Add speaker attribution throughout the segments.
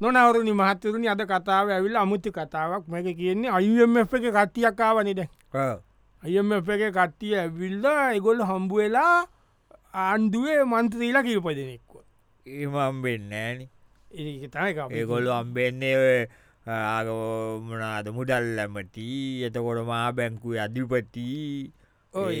Speaker 1: නොනවරුණි මහත්තරුණි අද කතාව ඇවිල් අමුති කතාවක් මැක කියන්නේ අයුම් එක කට්ටියක්කාවනිට අයම එක කට්ටිය ඇවිල්ල එගොල් හම්බුවෙලා ආණ්ඩුවේ මන්ත්‍රීලා කිල්පදනෙක්ව
Speaker 2: ඒමම් වෙන්නෑන
Speaker 1: ඒ
Speaker 2: ඒගොල්ලු අම්බෙන්නේ ඔය ආගමනාද මුදල්ලමටි එතකොට මා බැංකු අධිපති
Speaker 1: ඔය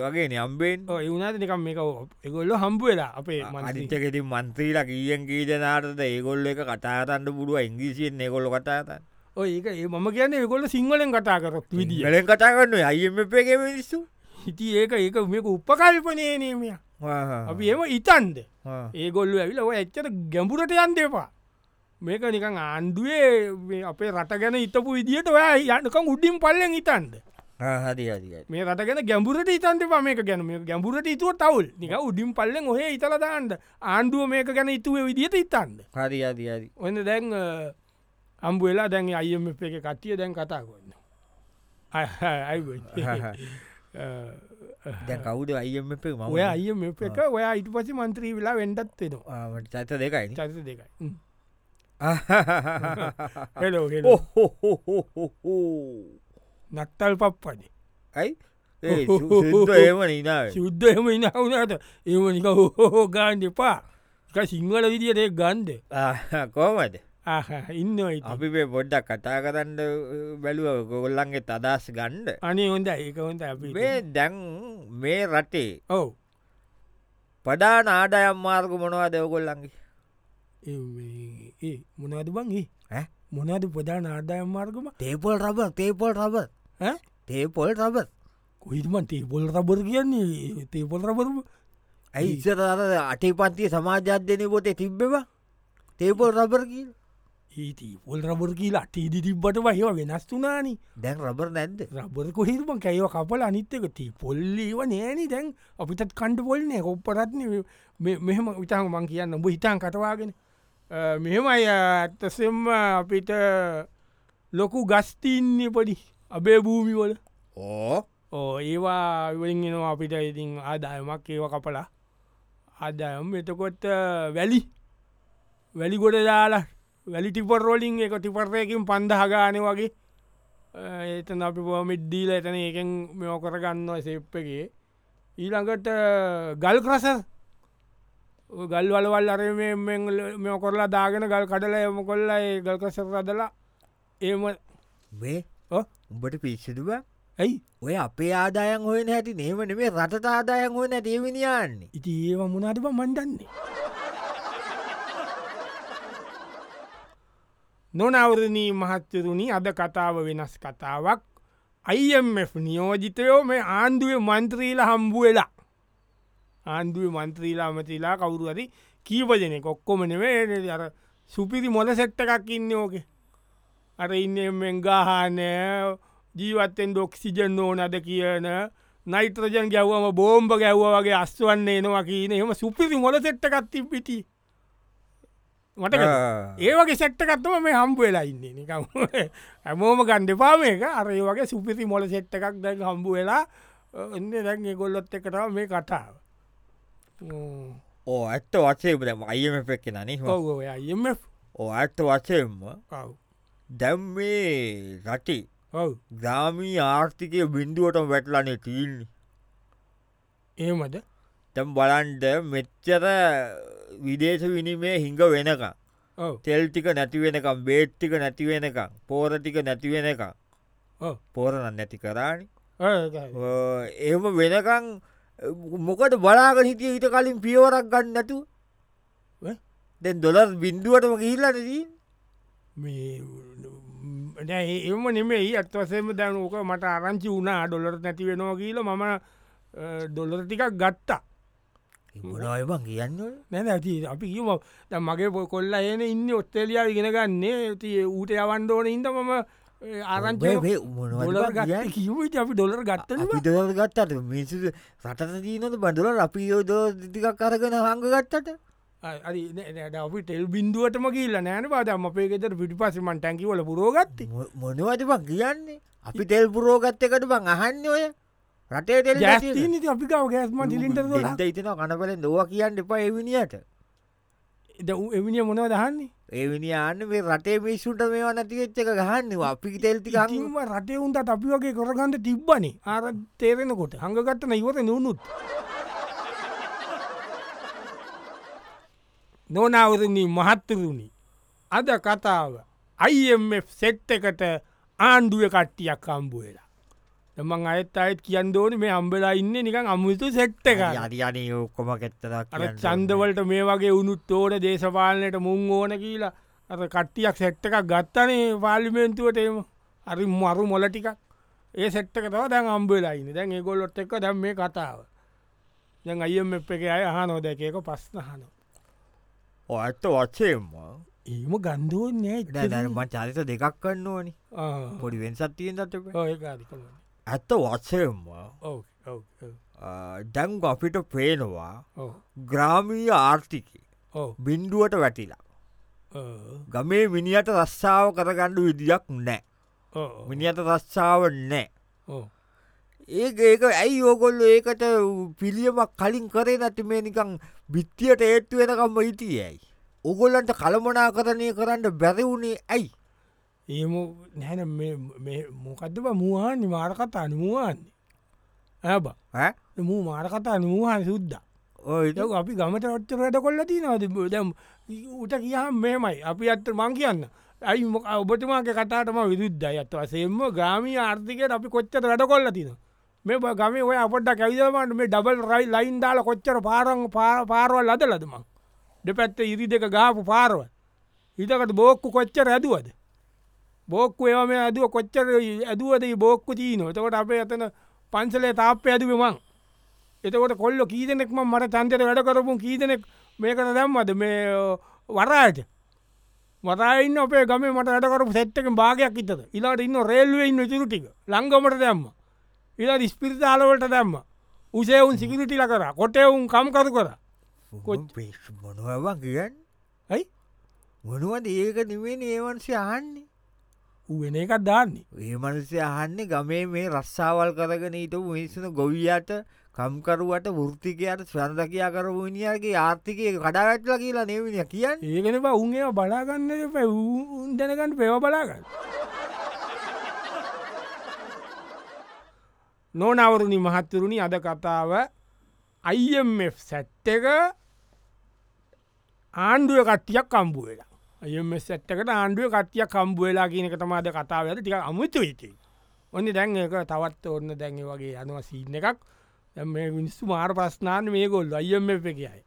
Speaker 2: වගේ නම්බෙන්
Speaker 1: ඒවුනාට නිකම් එක එගොල්ල හම්බුවෙලා අපේ මන්ත්‍රීට.
Speaker 2: අනිතකෙති මන්ත්‍රීලා කියෙන් කීජනාටද ඒගොල්ල එක කතාතන්න පුඩුව ඉංග්‍රීසියෙන් ඒගොල්ල කතාතන්න
Speaker 1: ඔය ඒක ඒ මම කියන්න ඒගොල්ල සිංහලෙන් කතා කරත් විදිිය
Speaker 2: විදිියලෙන් කතා කරන්න අයම පේක මිනිස්සු
Speaker 1: හිති ඒක ඒක මේක උපකල්පනය නේමය අපි එම ඉතන්ද ඒගොල්ල ඇවිල ඔය එච්චට ගැඹුරට යන්දේපා මේක නිකං ආණ්ඩුවේ මේ අපේ රට ගැන ඉතපු විදිහට ඔයා යන්නකම් උඩින් පල්ලෙන් හිතන්ද
Speaker 2: හරි හරි
Speaker 1: මේ රට ගැන ගැඹුරට ඉතන්ද මේක ගැන මේ ගැඹුරට ඉතුව තවල් නික උඩින් පල්ලෙන් ඔහ ඉතලදාන්ට ආණ්ඩුව මේක ගැන ඉතුව විදිහට ඉතන්ද
Speaker 2: හරි හරි හරි
Speaker 1: ඔන්න දැන් අම්බවෙලා දැන් අයම එක කට්ටිය දැන් කතා කොන්න
Speaker 2: දැ කවුද අයම පේ ම
Speaker 1: ඔය අය මෙ එක ඔයා ඉට පසි මන්ත්‍රී වෙලා වෙන්ඩත් වෙනවා
Speaker 2: චත දෙකයි
Speaker 1: චරිත දෙකයි හෙලෝ හෙලෝ
Speaker 2: Oh, ඕහෝ
Speaker 1: නක්තල් පප්පනේ
Speaker 2: ඇයි
Speaker 1: ඒ සු- සුද්දෝ
Speaker 2: ඒම නිනාව
Speaker 1: යුද්ධ එම ඉනවුනාට ඒම නික හෝ ගාන්ඩ එපා එක සිංහල විදියට ඒ ගන්ඩ
Speaker 2: කෝමද
Speaker 1: ඉන්න ඉත
Speaker 2: අපි මේ පොඩ්ඩක් කතා කරන්න බැලුව ගොල්ලන්ගේ තදස් ගණ්ඩ
Speaker 1: අනේ හොඳ ඒක හොඳ අපි
Speaker 2: මේ දැන් මේ රටේ
Speaker 1: ඔව
Speaker 2: පඩා නාඩයම් මාර්ග මොනවා දෙවගොල්ලන්ගේ
Speaker 1: ඒ මොනාද බංගේ මොනාද ප්‍රධාන ආදායම් මාර්ගම
Speaker 2: තේපොල් රබ තේපොල් රබ
Speaker 1: ඈ?
Speaker 2: තේපොල් රබ
Speaker 1: කොහිටමන් තේපොල් රබර කියන්නේ තේපොල් රබරම
Speaker 2: ඇයි ඉස්සර අටේ පන්තිය සමාජාධ්‍යනය පොතේ තිබ්බවා තේපොල් රබර් කිය
Speaker 1: ඒති පොල් රබර කියලා අටේදි තිබ්බට වහවා වෙනස්තුනානි
Speaker 2: දැන් රබර් නැද්ද
Speaker 1: රබර කොහිරම කැව කපල අනිත්තක ති පොල්ලිව නෑනි දැන් අපිටත් කණ්ඩ පොල්නය කොප්පරත්න මෙහම විතාහ මං කියන්න උඹ හිතාන් කටවාගෙන අ, මෙහෙමයි ඇත්තසෙම අපිට ලොකු ගස්තින්නේ පොඩි අබේ භූමිවල
Speaker 2: ඕ
Speaker 1: ඕ ඒවා වලින්ගෙනවා අපිට ඉතින් ආදායමක් ඒව කපලා ආදායම් එතකොට වැලි වැලිගොඩ දාලා වැලි ටිපර්රෝලිින් එක ටිපර්රයකින් පන්දහගාන වගේ අ, එතන අපි පොමිඩ්දීල එතන එකෙන් මෙෝ කරගන්න සෙප්පගේ ඊළඟට ගල් ක්‍රසර් ඔය ගල් වලවල් අර මෙෝ කොරලා දාගෙන ගල් කඩල එම කොල්ලා ඒ ගල් කසර රදලා ඒම
Speaker 2: මේ
Speaker 1: ඔ?
Speaker 2: උඹට පිස්සුදුව
Speaker 1: ඇයි
Speaker 2: ඔය අපේ ආදායන් හොය නැති නේමන මේ රට ආදායන් හොය නැටේවිනියන්නේ
Speaker 1: ඉති ඒව මුණටම මණ්ඩන්නේ නොනවරණී මහත්තරුණි අද කතාව වෙනස් කතාවක් අයිF නියෝජිතයෝ මේ ආණ්ඩුවේ මන්ත්‍රීල හම්බු වෙලා ආණ්ඩුවේ මන්ත්‍රීලා මතිලා කවුරුහරි කීපජනෙ කොක්කොම නෙවේ අර සුපිරි මොල සෙට්ට එකක් ඉන්න ඕකේ අර ඉන්නෙන් ගාහනෑ ජීවත්තෙන් ඩොක්සිජන් ඕනද කියන නයිත්‍රජන් ගැව්වම බෝම්භ ගැව්ව වගේ අස්වන්න එනවා කියන එම සුපිරි මොල සෙට්ටකත්ති පිටි මට ඒවගේ සෙට්ටකත්වම මේ හම්බ වෙලා ඉන්න නිකම් ඇමෝම ගණ්ඩපාම එක අරඒ වගේ සුපිරි මොල සෙට්ට එකක් දැන් හම්බු වෙලා එන්න දැන් ගොල්ලොත් එකටාව මේ කටාව
Speaker 2: ඕ ඇත්ත වචේබදම අයම පෙක්කෙන නි
Speaker 1: ඔව අයම
Speaker 2: ඕ ඇත්ත වචයෙන්ම
Speaker 1: ඔව්
Speaker 2: දැම් මේ රටි
Speaker 1: ඔව්
Speaker 2: ග්‍රාමී ආර්ථිකය බින්දුවටම වැටලනේ තිීල්නි
Speaker 1: ඒමද
Speaker 2: තැම් බලන්ඩ මෙච්චර විදේශ විනිමේ හිංග වෙනක
Speaker 1: ඔව්
Speaker 2: තෙල්ටික නැතිවෙනකම් බේට්ටික නැතිවෙනකම් පෝරටික නැතිවෙනකම්
Speaker 1: ඔව්
Speaker 2: පෝරණන් නැති කරානි
Speaker 1: ඔව්
Speaker 2: එම වෙනකං මොකට බලාග හිටිය ඊට කලින් පියවරක් ගන්න නැතු
Speaker 1: ඈ?
Speaker 2: දැන් දොලර් බින්දුවටම ගිහිල්ලනදී
Speaker 1: මේ නෑ ඒ- එම නෙමෙයි අත්වසේම දැන් ඕක මට ආරංචි වුණා ඩොලර් නැති වෙනවා කියල මම ඩොල්ලර ටිකක් ගත්තා
Speaker 2: මොනයබන් කියන්න
Speaker 1: නැන ඇති අපි කිම මගේ පො කොල්ල එන ඉන්න ඔස්ටේලියා ඉගෙන ගන්නේ ති ඌට අවන්ඩෝන ඉද මම ආරංච ඩොලර් ගත්ත කිවට අපි ඩොලර් ගත්තනවා
Speaker 2: දොල් ගත්තට මිනිසු රටට දීනට බඳුල අපියෝ දෝ දිිකක් අරගෙන හංග ගත්තට
Speaker 1: අරි අපි ටෙල් බින්දුවටම කියල්ල නෑන පාදම අපේ ගෙතර පිටි පසමන් ටැකිවල පුරෝගත්ත
Speaker 2: මො- මොනවද බං කියන්නේ අපි තෙල් පුරෝගත්ත එකට බං අහන්න ඔය රටේ තෙල් නැති
Speaker 1: ජස්තීනති අපි ගව ගෑස්ම ටිලින්ටර්
Speaker 2: එක. දෙන්න ඉතින කනපල දවා කියන්න එපා එවිනියට
Speaker 1: ද එමිනිිය මොනව දහන්නේ
Speaker 2: ඒවිනි ආන්න මේ රටේ මිස්සුට මේ වනතිවෙච්ච එක ගහන්න අපි තෙල්ති
Speaker 1: ඉතින්ම රටවුන්ට අපි වගේ කරගන්න තිබ්බනේ ආර තේරෙනකොට හඟගත්තන ඉවර නොවනුත් නොනවරණී මහත්තරුණි අද කතාව අයිF සෙට් එකට ආණ්ඩුව කට්ටියක් අම්බුවෙලා තමන් අයත් අයත් කියන්න ඕන මේ අම්බලා ඉන්න නිකන් අමුතු සෙට්ට එක
Speaker 2: අරියන ඔක්කොම
Speaker 1: අර
Speaker 2: කෙත්තක්
Speaker 1: චන්දවලට මේ වගේ උනුත් ඕන දේශපාලනයට මුං ඕන කියලා අර කට්ටියක් සැට්ට එකක් ගත්තනේ පාලිමෙන්තුවට එම අරි මරු මොලටිකක් ඒ සැට්ටක තව දැන් අම්බවෙලායින්න දැන් ඒගොල්ලොත් එක් දැම් මේ කතාව දැන් අයම් එප් එක අය හනෝ දැකක පස්නහන
Speaker 2: ඇත්ත වචයෙන්ම
Speaker 1: ඒම ගන්දුවන් නෑ
Speaker 2: දැනම චරිත දෙකක් කන්න ඕනි පොඩි වෙන්සත් තියෙන් දත්ක ඇත්ත වත්සයෙන්ම දැන් අපිට පේනවා ග්‍රාමීය ආර්ථිකය බින්දුවට වැටිලා ගමේ මිනිියට රස්සාාව කරගණ්ඩු විදිියක් නෑ මිනිියට රස්සාාව නෑ ඒක ඒක ඇයි ඕගොල්ල ඒකට පිළියමක් කලින් කරේ නැති මේ නිකං බිත්තියට ඒත්තු වෙනකම්ම හිටිය ඇයි. ඔගොල්ලන්ට කළමනා කරණය කරන්න බැරවුණේ ඇයි
Speaker 1: ඒම නැන මොකදව මුවහන් නිමාරකත අනිමුවන්නේ ඇබ
Speaker 2: ඈ?
Speaker 1: මූ මාරකත අනිමුවහන් සුද්ද
Speaker 2: ඔය
Speaker 1: ට අපි ගමට ඔච්ච රට කොල්ල තිනද දැම් උට කියහම් මෙමයි අපි අත්ත මං කියන්න ඇයි මොක ඔබතුමාගේ කතාටම විදුද්ධ ඇත්ත වසේම ග්‍රාමී ආර්ථිකයට අපි කොච්චට රට කොල්ල තින මේ බ- ගමේ ඔය අපට කැවිදමට මේ ඩබල් රයි ලයින් දාල කොච්චර පාරං පාරවල් අද ලදමක් දෙපැත්ත ඉරි දෙක ගාපු පාරව හිතකට බෝක්කු කොච්චර ඇදුවද බෝක්කු ඒව මේ ඇදුව කොච්චර ඇදුවද ඒ බෝක්කු තිීන එතකොට අපේ ඇතන පන්සලේ තාප්පය ඇදුව මං එතකොට කොල්ල කීදනෙක්ම මට චන්තයට වැඩ කරපු කීදනෙක් මේකට දැම්මද මේ වරාජ මතයින්න අපේ ගම මට වැඩකරපු සැත්තක භාගයක් ඉතද ඉලාට ඉන්න රේල්ුවන්න චුරුටික ලංගමට දැම්ම ඉලා ස්පිරිතාලවලට දැම්ම උසේවුන් සිකිරිටිල කර කොටයවුන් කම්කරු කර කොච්ච-
Speaker 2: මොනවන් කියන්න
Speaker 1: ඇයි
Speaker 2: මොනුවද ඒක නිවේ ඒවන්සේ අහන්නේ
Speaker 1: වෙන එකක් දාන්නේ
Speaker 2: ඒමනසේ අහන්නේ ගමේ මේ රස්සාවල් කරගෙන හිටපු මිනිස්සුන ගොවියට කම්කරුවට වෘත්තිකයට ස්වන්දකයා කරපු විනිියගේ ආර්ථිකය කඩාවැටල කියලා නේවිනි කියන්න
Speaker 1: ඒගෙන බ උන් ඒවා බලාගන්න පැ උන් දැනකට පෙව බලාගන්න නොනවරුණි මහත්තරුණි අද කතාව අයිF සැට් එක ආණ්ඩුව කට්ටියක් කම්බු වෙලා අයම සැට්කට ආණ්ඩුව කට්ටියක් කම්බු වෙලා කියනක තම අද කතාව ඇද ටික අමුතු ඉති ඔන්න දැන් ඒක තවත් ඔන්න දැන් ඒ වගේ යනවා සීන එකක් දැන් මේ මිනිස්සු මාර ප්‍රස්නාන මේ ගොල්ල අයම එක කියයි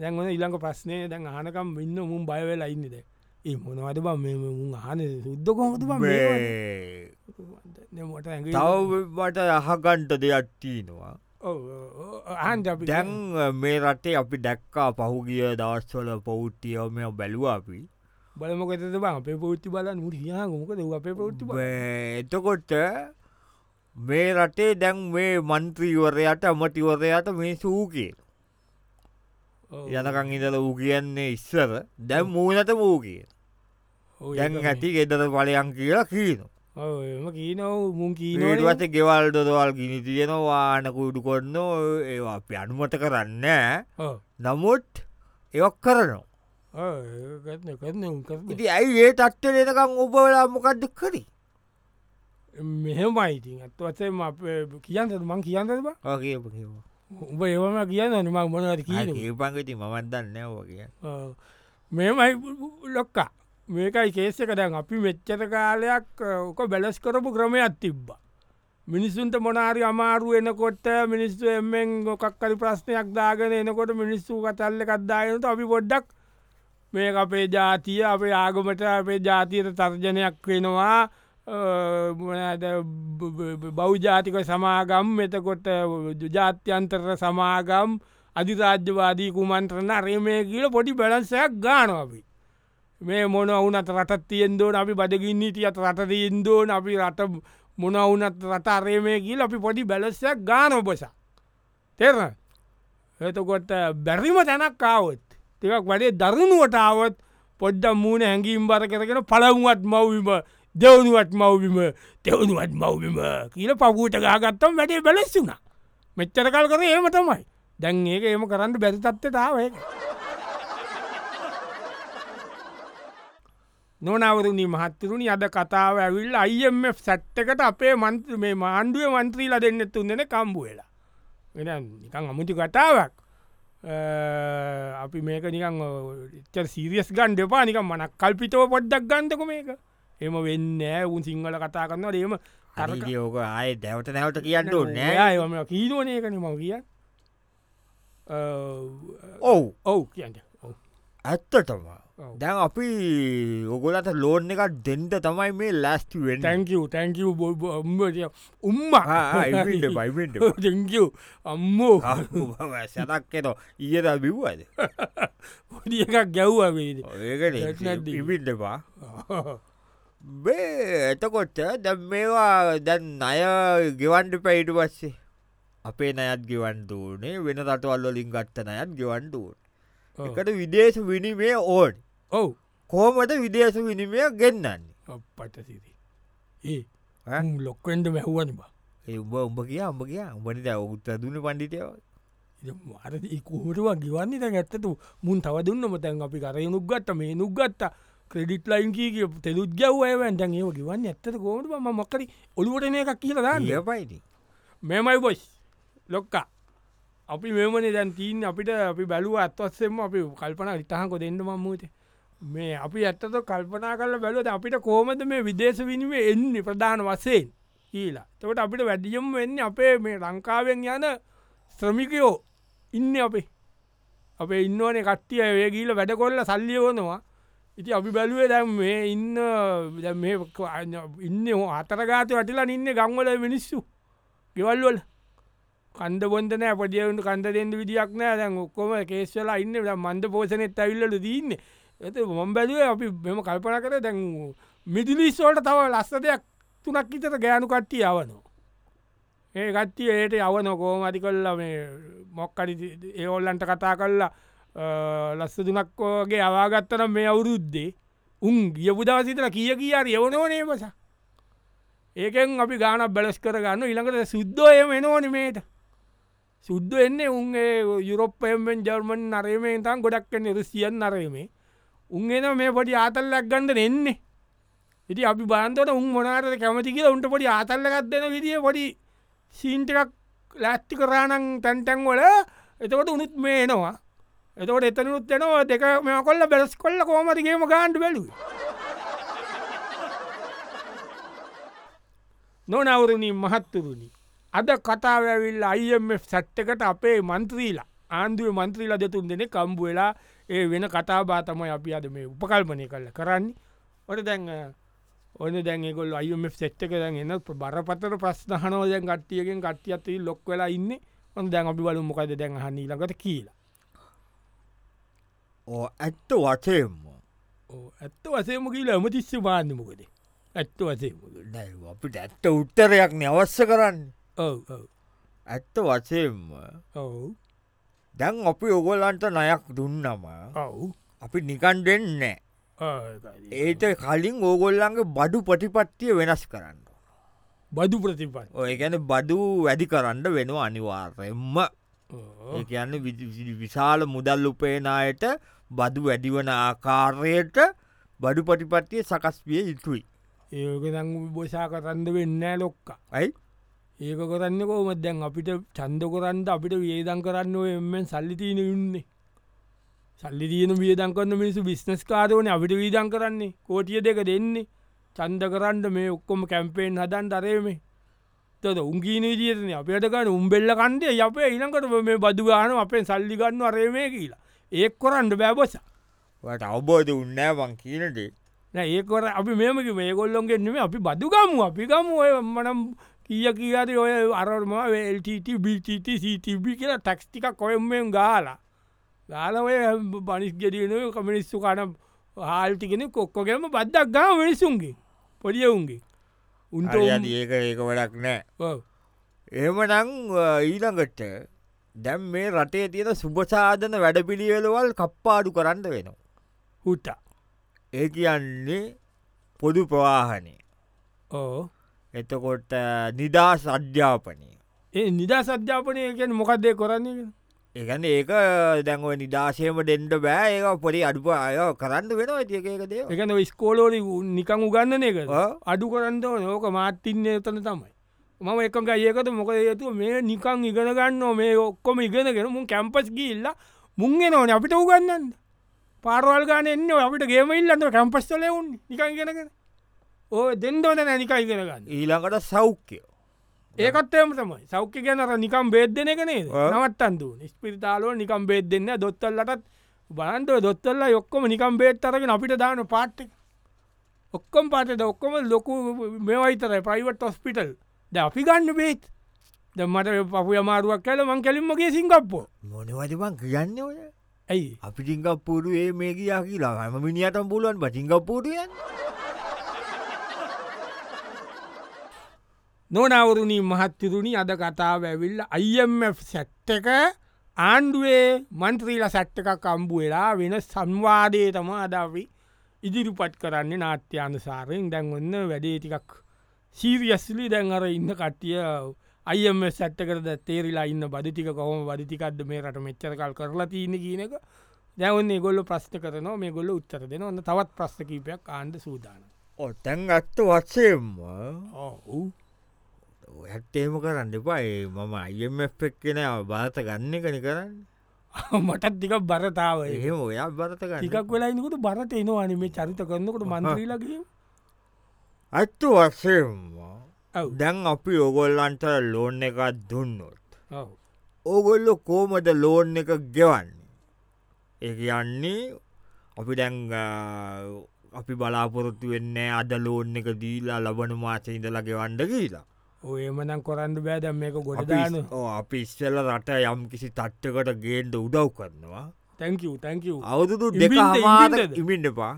Speaker 1: දැන් ඔන්න ඉළඟ ප්‍රශ්නය දැන් ආනකම් වෙන්න මුම් බයවෙලා ඉන්නද ඒ මොනවද බ මේ මුන් ආන සුද්ද කොහොද බ මට ඇඟිලි-
Speaker 2: තවමට අහගන්ට දෙයක්ටීනවා
Speaker 1: ඔව්, ඔව්, ඔව්, අහන්න අපි
Speaker 2: දැන් මේ රටේ අපි දැක්කා පහුගිය දවස්වල පෞට්ටියෝ මෙ බැලුව අපි
Speaker 1: බලමොකතද බ අපේ පෞෘත්ති බලන්න මුට හාගමකද අපේ පෞෘත්ති
Speaker 2: බෑ, එතකොට මේ රටේ දැන් මේ මන්ත්‍රීවරයට අමටිවරයට මේ සූකේ යනකං ඉඳල වූ කියන්නේ ඉස්සර දැම් මූනට වූ කිය දැන් ඇති ගෙදර පලයන් කියලා කියීන
Speaker 1: එම කීනව මුන් කීනවට
Speaker 2: ඊටවස ගෙවල් දොදවල් ගිනි තියෙනවාන කුඩු කොන්න ඒවා අපි අනුමත කරන්න නමුත් එවක් කරනවා
Speaker 1: කරන කරන
Speaker 2: ඉති ඇයි ඒ තත්ත්වලනකං ඔබවෙලා මොකක්ද කරි
Speaker 1: මෙහෙමයිඉතින් ඇත්වසම කියන්නද මං කියන්නද
Speaker 2: ඒපගති
Speaker 1: උඹ ඒවම කියන්න නිම මොනද කියන
Speaker 2: මමත් දන්න ඕ කිය
Speaker 1: මෙමයි ලොක්කා මේකයි කේසක දැන් අපි මෙච්චත කාලයක් ඕක බැලස් කරපු ක්‍රමයක් තිබ්බ මිනිස්සුන්ට මොනාරි අමාරුව එනකොට මිනිස්සු එමෙන් ගොකක්කරි ප්‍රශ්නයක් දාගෙන එනකොට මිනිස්සු කතල්ල කද්දායනට අපි පොඩ්ඩක් මේ අපේ ජාතිය අපේ ආගමට අපේ ජාතියට තර්ජනයක් වෙනවා මොනද බෞජාතික සමාගම් එතකොට ජාත්‍යන්තර සමාගම් අධිරාජ්‍යවාදී කුමන්ත්‍රණ රේමය කියල පොඩි බැලන්සයක් ගානවා අපි. මේ මොන වුනත් රටත් තියෙන්දෝන අපි බඩගින්නීටියත් රටතියෙන්දෝන අපි රට මොන වුනත් රට අරේමය කියල අපි පොඩි බැලස්සයක් ගානොබස. තෙර එතකොට බැරිම තැනක් කාවත් තිකක් වැඩේ දරුණුවටාවත් පොඩ්ඩම් මූුණ හැඟීම් බර කරගෙන පළවුවත් මවවිම දෙවුණුවත් මවවිම තෙවුණුවත් මවවිම කියල පපුූට ගාගත්තම් වැඩේ බැලස්සුනා. මෙච්චර කල් කර ඒම තමයි දැන් ඒක ඒම කරන්න බැරිතත්වතාව නොනවරුණි මහත්තරුණි අද කතාව ඇවිල් අයිF සැට්ටකට අපේ මන්ත්‍ර මේ මාණ්ඩුව මන්ත්‍රීලා දෙන්න තුන්දෙන කම්බුවෙලා වෙන නිකං අමුති කතාවක් අපි මේක නිකං ච සීරියස් ගන් දෙපා නික මනක් කල්පිතව පොඩ්ඩක් ගන්දක මේක එම වෙන්න උන් සිංහල කතා කරන්න ඒම
Speaker 2: අරෝක ආය දැවට නැවට කියන්න නෑ
Speaker 1: නෑම කීදෝනයකන මව කිය
Speaker 2: ඔව්
Speaker 1: ඔව් කියන්න
Speaker 2: ඇත්තටම දැන් අපි ඔගොලට ලෝන් එකක් දෙන්ට තමයි මේ ලැස්ති වෙන්
Speaker 1: තැංකව තැංකව බොම්බය උම්මා
Speaker 2: ඉට බයිට
Speaker 1: තැංකව අම්මෝ
Speaker 2: සැතක්කෙන ඊයට බිව්වද
Speaker 1: පොඩි එකක් ගැව්වවේද
Speaker 2: ඒකට
Speaker 1: නැද්ද?
Speaker 2: ඉවිල්ටපා බේ එතකොච්ච දැ මේවා දැන් අය ගෙවන්ඩ පැයිට පස්සේ අපේ නයත් ගෙවන්ඩූනේ වෙන රටවල්ලොලින් ගත්ත නයත් ගෙවන්ඩූන් එකට විදේශ විනිමේ ඕඩ්
Speaker 1: ඔව්
Speaker 2: කෝමට විදේශ විනිමය ගෙන්න්නන්නේ
Speaker 1: පටසිරි ඒ ලොක්කෙන්ට මැහුවන බා
Speaker 2: ඒ උඹ උඹ කිය උඹ කිය උඹට දැ උත්ත දුන පණ්ඩිතයව
Speaker 1: අරකුහටවා ගිවන්නත ඇත්තතු මුන් තවදුන්නම තැන් අපි කරය නුක්ගත්ත මේ නුක්ගත්ත ක්‍රඩිට් ලයින් කිය තෙලුත් ගැව්වයවන්ට ඒව ගවන්න ඇත්තත කෝට ම මක්කර ඔලුවටන එකක් කියලදාන්න
Speaker 2: ලිය පයිති
Speaker 1: මෙමයි බොස් ලොක්කා අපි මෙමන දැන් තීන් අපිට අපි බැලුව අත්වස්සෙම අපි කල්පන ඉතාහකො දෙන්න මම්මූත මේ අපි ඇත්තත කල්පනා කරල බැලුවද අපිට කෝමද මේ විදේශ විනිීම එන්න ප්‍රධාන වසයෙන් කියලා තකට අපිට වැඩියම් වෙන්න අපේ මේ ලංකාවෙන් යන ශ්‍රමිකයෝ ඉන්න අපේ අපේ ඉන්නවනේ කට්ටිය ඒ ගීල වැඩ කොල්ල සල්ලි ඕනවා ඉති අපි බැලුවේ දැම් මේ ඉන්න දැන් මේ ක- අ- ඉන්න හෝ අතරගාත වටලා ඉන්න ගංවල මිනිස්සු ගෙවල්වල කන්ද බොන්දන පඩියවුට කන්ද දෙෙන්ද විදිියක් නෑ දැන් ඔක්කොම කේස්වලා ඉන්න දැන් මන්ද පෝසනෙත් ඇවිල්ලට දීන්න ඇත මොම් බැලුව අපි මෙම කල්පන කර දැන් මිදිලිස්වලට තව ලස්ස දෙයක් තුනක් ඉතට ගෑනු කට්ටි යවනවා ඒ ගත්තිය ඒයට යවන කෝමති කල්ල මේ මොක්කරි ඒවොල්ලන්ට කතා කල්ලා ලස්ස දුනක්කෝගේ අවාගත්තන මේ අවුරුද්දේ උන් ගියපු දවසිතල කිය කියාර යවනෝනේ මස ඒකෙන් අපි ගාන බැලස් කරගන්න ඉළඟට සුද්දෝය වෙනෝන මේට සුද්ද එන්නේ උන්ගේ යුරොප්පයමෙන් ජර්මන් නරේමෙන් තන් ගොඩක් නිරසියන් නරේමේ උන් එන මේ පොඩි ආතල්ලක් ගන්ඩ එන්නේ ඉති අපි බාන්තට උන් මොනාරද කැමති කියලා උන්ට පොඩි ආතල්ලකත් දෙන විදිිය පොඩි සීන්ටකක් ලැස්ති කරානං තැන්ටැන් වල එතකොට උනුත් මේ එනවා එතකොට එතනුත් එනවා දෙක මෙ කොල්ල බැලස් කොල්ල කෝමතිගේම ගාන්ඩ බැලු නොනවරණී මහත්තුරුණි අද කතාවැවිල් අයිම සැට්ටකට අපේ මන්ත්‍රීලා ආණ්දුව මන්ත්‍රීලා දෙතුන් දෙනෙ කම්බු වෙලා ඒ වෙන කතා බාතමයි අපි අද මේ උපකල්පනය කල්ල කරන්නේ ඔට දැන් අ, ඔන්න දැන්ගොල් අයුම සෙට්ක දැන් එන්න ප- බරපතර ප්‍රස්ථහනෝ දැන් ගට්ටියගෙන් කට්ටියත්ති ලොක් වෙලා ඉන්න ඔන් දැන් අපි බලු මොකද දැන් හනිීලකට කියලා
Speaker 2: ඕ ඇත්ත වචයෙන්ම
Speaker 1: ඕ, ඇත්ත වසේම කියල ඇමතිස්ස පාන්නමකද ඇත්ත වසේම
Speaker 2: දැ අපිට ඇත්ත උත්තරයක් නවස්ස කරන්න ඇත්ත වචයෙන්ම
Speaker 1: ඔව
Speaker 2: දැන් අපි ඔගොලන්ට නයක් දුන්නම
Speaker 1: ඔව්
Speaker 2: අපි නිකන් දෙන්න ඒට කලින් ඕගොල්ලන්ගේ බඩු පටිපට්ටිය වෙනස් කරන්න
Speaker 1: බදු ප්‍රතිපත්
Speaker 2: ඔය ගැන බඩු වැඩි කරන්න වෙනවා අනිවාර්යෙන්ම ඒ කියන්නේ වි- වි- විශාල මුදල් උපේනායට බදු වැඩිවන ආකාරයට බඩු පටිපට්ටිය සකස් විය යුතුයි
Speaker 1: ඒක දං බෝෂා කරන්න වෙන්න ලොක්කා
Speaker 2: ඇයි
Speaker 1: ඒක කරන්න කෝම දැන් අපිට චන්ද කොරන්ට අපිට වියදං කරන්න එෙන් සල්ලිතියන ඉන්නේ සල්ලි තියන වියදං කරන්න මිනිසු බිස්නස් කාරෝන අපිට වීදං කරන්නේ කෝටිය දෙක දෙන්නේ චන්ද කරන්න මේ ඔක්කොම කැම්පේෙන් හදන් තරයමේ තොද උන්ගීන විදියන අපිටකන්න උම්බෙල්ල කන්දේ අපේ ඉනකට මේ බදුගාන අපෙන් සල්ලිගන්න අරයමය කියලා ඒක් කොරන්ට බෑබසා
Speaker 2: ට අවබෝධ උන්නෑවන් කියනදේ
Speaker 1: නෑ ඒකර අපි මෙමක මේගොල්ලොන්ගේ නෙම අපි බදුගමු අපිගම ඔය මනම් කිය කියට ඔය අරම ල්ටට බිටට සිටබ කියලා ටැක්ස්ටික කොයම්මෙන් ගාලා ගාල ඔය බනිස් ගෙඩියන කමිනිස්සු කන හාල්ටිකෙන කොක්කොගේම බද්දක් ගා වෙනසුන්ගේ පොඩියවුන්ගේ උන්ට
Speaker 2: අරයාද ඒක ඒක වැඩක් නෑ එමනං ඊළඟට දැම් මේ රටේ තියෙන සුභසාධන වැඩපිළිවෙලවල් කප්පාඩු කරන්න වෙනවා.
Speaker 1: හුට
Speaker 2: ඒ කියන්නේ පොදු ප්‍රවාහනය
Speaker 1: ඕ
Speaker 2: එතකොට නිදා සධ්‍යාපනය
Speaker 1: ඒ නිදා සධ්‍යාපනය කියන මොකක්දේ කරන්නේ
Speaker 2: ඒගැන ඒක දැන්ව නිදශයම ඩෙන්ඩ බෑ ඒක පොඩි අඩුප අය කරන්න වෙනවා ඒකද
Speaker 1: එකන ස්කෝලෝලි නිකං උගන්න එක අඩු කරන්න නෝක මාත්තින්නේ එතන තමයි මම එකක ඒකත මොක යතු මේ නිකං ඉගෙන ගන්න මේ ඔක්කොම ඉගෙනගෙන මුන් කැම්පස් ගිල්ලා මුන්ගේ නොන අපිට උගන්නන්න පාරවල් ගන්න එන්න අපිට ගේම ඉල්ලන්න කැම්පස්තල උන් නිකං ඉගෙනගෙන ඕ දෙන්දෝන නැනික ඉගෙන ගන්න
Speaker 2: ඊළඟට සෞඛ්‍යයෝ
Speaker 1: ඒකත්තයම තමයි සෞඛ්‍ය ගැනර නිකම් බේද්ධන කනේ නවත්තන්දු ස්පිරිතාලෝ නිකම් බේද දෙන්න දොත්තල්ලටත් බලන්ට දොත්තල්ල යොක්කොම නිකම් බේත් අරගෙන අපිට දාන පාට් ඔක්කොම් පාටට ඔක්කොම ලොකු මෙවයිතර ප්‍රයිවට ඔස්පිටල් ද අපි ගන්න බේත් ද මට පපු අමාරුවක් කැල මං කැලින්මගේ සිංගප්පෝ
Speaker 2: මොනවදමන් කියන්න ඔය
Speaker 1: ඇයි
Speaker 2: අපි සිංගප්පුරු ඒ මේ කියා කියලා හම මිනිියටම් පුලුවන් බසිංගප්පුරුවයන්න
Speaker 1: නොනවරුණී මහත්තිරුණි අද කතාව ඇවිල්ල අයිF සැට් එක ආණ්ඩුවේ මන්ත්‍රීල සැට් එකක් අම්බු වෙලා වෙන සංවාදය තම අදාවි ඉදිරිපත් කරන්නේ නාට්‍යානසාරයෙන් දැන් ඔන්න වැඩේ ටිකක් සීවියස්ලි දැන් අර ඉන්න කට්ටිය අයම සැට්කරද තේරිලා ඉන්න බදිතික කොහොම වදිතිකක්ද මේ රට මෙච්චර කල් කරලා තියන කියනක දැවන්නේ ගොල්ල ප්‍රස්්ට කරන මේ ගොල්ල උත්තර දෙන ඔන්න තවත් ප්‍රස්ථකීපයක් ආණ්ඩ සූදාන
Speaker 2: ඔතැන් අත්ත වත්සේම
Speaker 1: ඔහු
Speaker 2: ඇත්තේම කරන්න එපායි මම අයම එක්කෙන බාත ගන්න කන කරන්න
Speaker 1: මටත් දික බරතාව
Speaker 2: එහෙම ඔයා බරතක
Speaker 1: ටිකක් වෙලායිකට බරට එනවාන මේ චරිත කරන්නකට මන්ත්‍රීලගේ
Speaker 2: ඇත්තු වස්සේම දැන් අපි ඔගොල්ලන්ට ලෝන් එකක් දුන්නොත් ඕගොල්ලො කෝමද ලෝන් එක ගෙවන්නේ ඒ යන්නේ අපි දැන් අපි බලාපොරොත්තු වෙන්න අද ලෝන් එක දීලා ලබන මාසය ඉඳලා ගෙවන්ඩ කියලා
Speaker 1: ඒමනම් කොරන්න බෑදම් මේක ගොඩදාන
Speaker 2: අපි ඉස්සල්ල රට යම් කිසි තට්ටකට ගේන්ට උදව් කරනවා
Speaker 1: තැංකූ තැංකූ
Speaker 2: අවුරුදු දෙක හමාට ඉමින්ට පා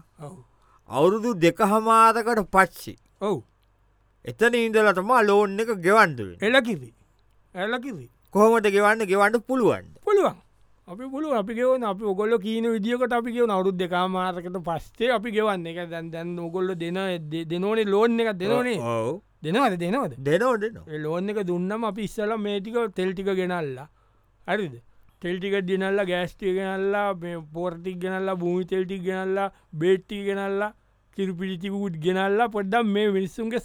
Speaker 2: අවුරුදු දෙක හමාතකට පච්චි
Speaker 1: ඔවු
Speaker 2: එතන ඉඳලටම ලෝන් එක ගෙවන්ඩුව
Speaker 1: එලකිවි ඇලකිවි
Speaker 2: කොහොමට ගෙවන්න ගෙවන්ට පුළුවන්ට
Speaker 1: පුළුවන් අපි පුළුව අපි ගෙවන අපි ඔගොල්ල කියන විදිියකට අපි කියව අවුත් දෙකාමාතකට පස්සේ අපි ගෙවන්න එක දැන් දැන් ඔගොල්ල දෙන දෙනෝනේ ලෝන් එක දෙනෝනේ දෙනවද දෙනවද
Speaker 2: දෙනෝ දෙන
Speaker 1: ලෝන් එක දුන්නම අපි ඉස්සල මේටික තෙල්ටික ගෙනල්ලා හරිද තෙල්ටික දිනල්ලා ගෑස්ටිය ගෙනල්ලා පෝර්ටික් ගෙනල්ලා භූමි තෙල්ටික් ගෙනල්ලා බේට්ටි ගෙනල්ලා කිරුපිලිතිකුට් ගෙනල්ලා පොඩ්ඩම් මේ මිනිස්සුන්ගේ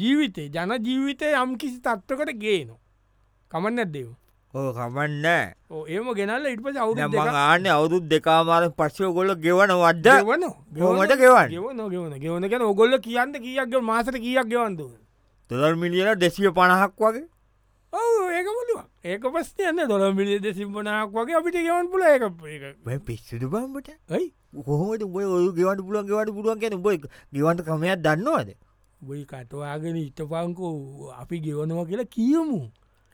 Speaker 1: ජීවිතේ ජන ජීවිතය යම් කිසි තත්වකට ගේනවා කමන්න ඇදව
Speaker 2: ඕ කමන්න
Speaker 1: ඒම ගෙනල්ල ඉට පස අවුද
Speaker 2: ආන අවුරුත් දෙකාමාර පස්සය ගොල්ල ගෙවන වඩ්ඩ
Speaker 1: වන
Speaker 2: ගොමට ගෙවන්
Speaker 1: ගෙවන ගෙවන ගෙවන ගැන ඔගොල්ල කියන්න කියක්ග මාසට කියක් ගෙවන්දුව
Speaker 2: දොදල් මිලියන දෙසිය පණහක් වගේ
Speaker 1: ඔව ඒක මුලුව ඒක පස්ේ යන්න දොළ මිලිය දෙසිම්පනාක් වගේ අපිට ගෙවන් පුල ඒක
Speaker 2: ඔය පිස්සුදු බම්බට
Speaker 1: ඇයි
Speaker 2: කොහොමට බය ඔය ගෙවට පුලන් ගෙවට පුලුවන් කියන බොයි ගෙවන්ට කමයක් දන්නවාද
Speaker 1: බයි කටවාගෙන ඉට පංකෝ අපි ගෙවනවා කියලා කියමු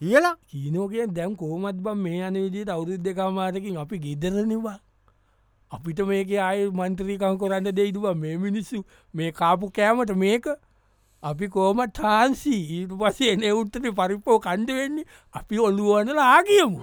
Speaker 2: කියලා
Speaker 1: කීනෝකෙන් දැම් කෝමත් බම් මේ අන විදිට අවුරුද් දෙකාමාතකින් අපි ගෙදරනවා අපිට මේක ආය මන්ත්‍රීකං කොරන්න දෙයිතුවා මේ මිනිස්සු මේ කාපු කෑමට මේක අපි කෝම ට්‍රාන්සි ඊට පසේ එන උත්තට පරිප්පෝ කණ්ඩවෙන්නේ අපි ඔල්ලුවනලා ආගියමු.